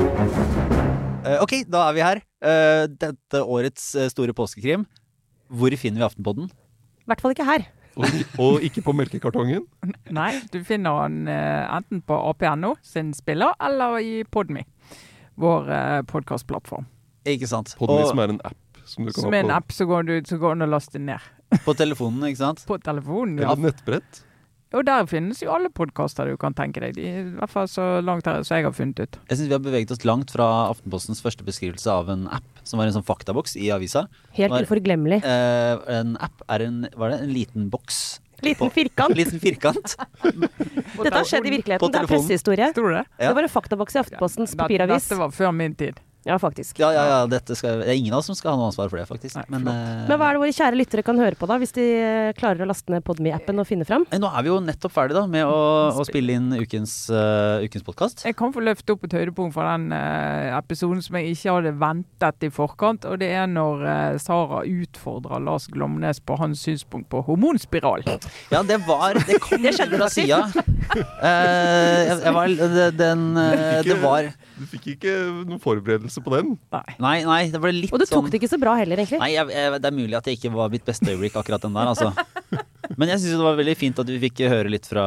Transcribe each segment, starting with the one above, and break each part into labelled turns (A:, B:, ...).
A: Eh, ok, da er vi her. Eh, dette årets eh, store påskekrim. Hvor finner vi Aftenpodden?
B: I hvert fall ikke her.
C: Og, og ikke på melkekartongen.
D: Nei, du finner han eh, enten på ap.no sin spiller, eller i Podme, vår eh, podkastplattform.
A: Ikke sant?
C: Podme,
A: Og
C: som er en app. Som du kan
D: Som
C: ha
D: er en
C: på
D: app som går, du, så går den og laster ned
A: på telefonen, ikke sant?
D: på telefonen.
C: Eller
D: Ja.
C: et nettbrett.
D: Og der finnes jo alle podkaster du kan tenke deg. De, I hvert fall så langt her som jeg har funnet ut.
A: Jeg syns vi har beveget oss langt fra Aftenpostens første beskrivelse av en app, som var en sånn faktaboks i avisa.
B: Helt
A: Var-
B: uforglemmelig.
A: Eh, en app er en, var det en liten boks?
B: Liten
A: på-
B: firkant.
A: Liten firkant.
B: Dette har skjedd i
A: På
B: virkeligheten. Det er
A: telefonen.
B: pressehistorie.
D: Tror du det?
A: Ja.
B: Det var en faktaboks i Aftenpostens papiravis.
D: Dette var før min tid.
B: Ja, faktisk.
A: Ja, ja, ja. Dette skal, det er ingen av oss som skal ha noe ansvar for det, faktisk.
D: Nei,
A: Men, eh,
B: Men hva er det våre kjære lyttere kan høre på, da, hvis de eh, klarer å laste ned Podme-appen og finne fram?
A: Nei, Nå er vi jo nettopp ferdig da med å, å spille inn ukens, uh, ukens podkast.
D: Jeg kan få løfte opp et høydepunkt fra den eh, episoden som jeg ikke hadde ventet i forkant, og det er når eh, Sara utfordrer Lars Glomnes på hans synspunkt på hormonspiral.
A: Ja, det var Det kom
B: Det skjedde
A: fra sida. Eh, jeg, jeg var det- Den eh, Det var
C: Du fikk ikke noen forberedelse på den.
D: Nei.
A: Nei, nei, det ble litt
B: Og du tok
A: sånn
B: det ikke så bra heller, egentlig.
A: Nei, jeg, jeg, det er mulig at det ikke var mitt beste øyeblikk, akkurat den der, altså. Men jeg syns det var veldig fint at vi fikk høre litt fra,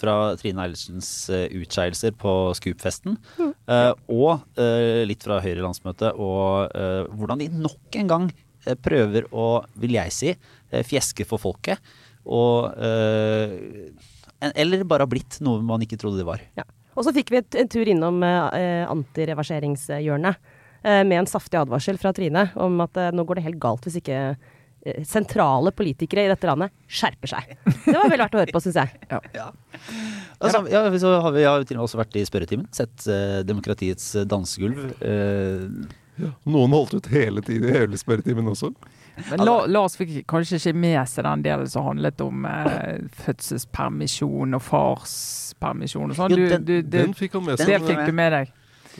A: fra Trine Eilertsens eh, utskeielser på Scoop-festen. eh, og eh, litt fra Høyre landsmøte, og eh, hvordan de nok en gang eh, prøver å, vil jeg si, eh, fjeske for folket. Og eh, en- Eller bare har blitt noe man ikke trodde de var.
B: Ja. Og så fikk vi et, en tur innom eh, eh, antireverseringshjørnet eh, med en saftig advarsel fra Trine om at eh, nå går det helt galt hvis ikke eh, sentrale politikere i dette landet skjerper seg. Det var vel verdt å høre på, syns jeg.
A: Altså, ja, så har vi, jeg har jo til og med også vært i spørretimen. Sett eh, demokratiets eh, dansegulv. eh,
C: Noen holdt ut hele tiden, hele spørretimen også.
D: Men La, Lars fikk kanskje ikke med seg den delen som handlet om eh, fødselspermisjon og farspermisjon og sånn.
A: Jo,
D: Du,
A: den-
D: du, det,
C: Den fikk han med
D: det
C: seg.
D: fikk du med deg.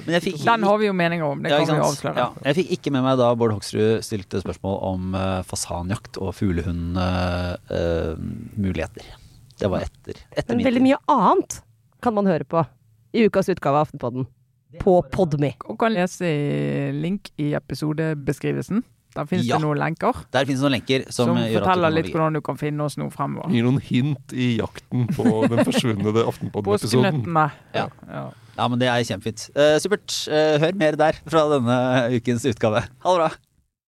A: men jeg fikk
D: Den har vi jo meninger om, det
A: Ja,
D: kan
A: ikke
D: vi jo
A: sant?
D: avsløre.
A: Ja. Jeg fikk ikke med meg da Bård Hoksrud stilte spørsmål om eh, fasanjakt og fuglehundmuligheter. det var etter, etter
B: Men
A: min
B: veldig
A: tid.
B: mye annet kan man høre på i ukas utgave av Aftenpodden. På Podme.
D: Og kan lese i link i episodebeskrivelsen. Der finnes
A: Ja.
D: det noen lenker
A: Der finnes noen lenker som,
D: som,
A: gjør at du
D: forteller
A: kan
D: litt
A: navigere.
D: hvordan du kan finne oss nå fremover.
C: Gir noen hint i jakten på den forsvunne Aftenpodden-episoden.
D: Påskenøttene.
A: Ja.
D: Ja.
A: Ja, men det er kjempefint. Eh, supert. Eh, hør mer der fra denne ukens utgave. Ha det bra.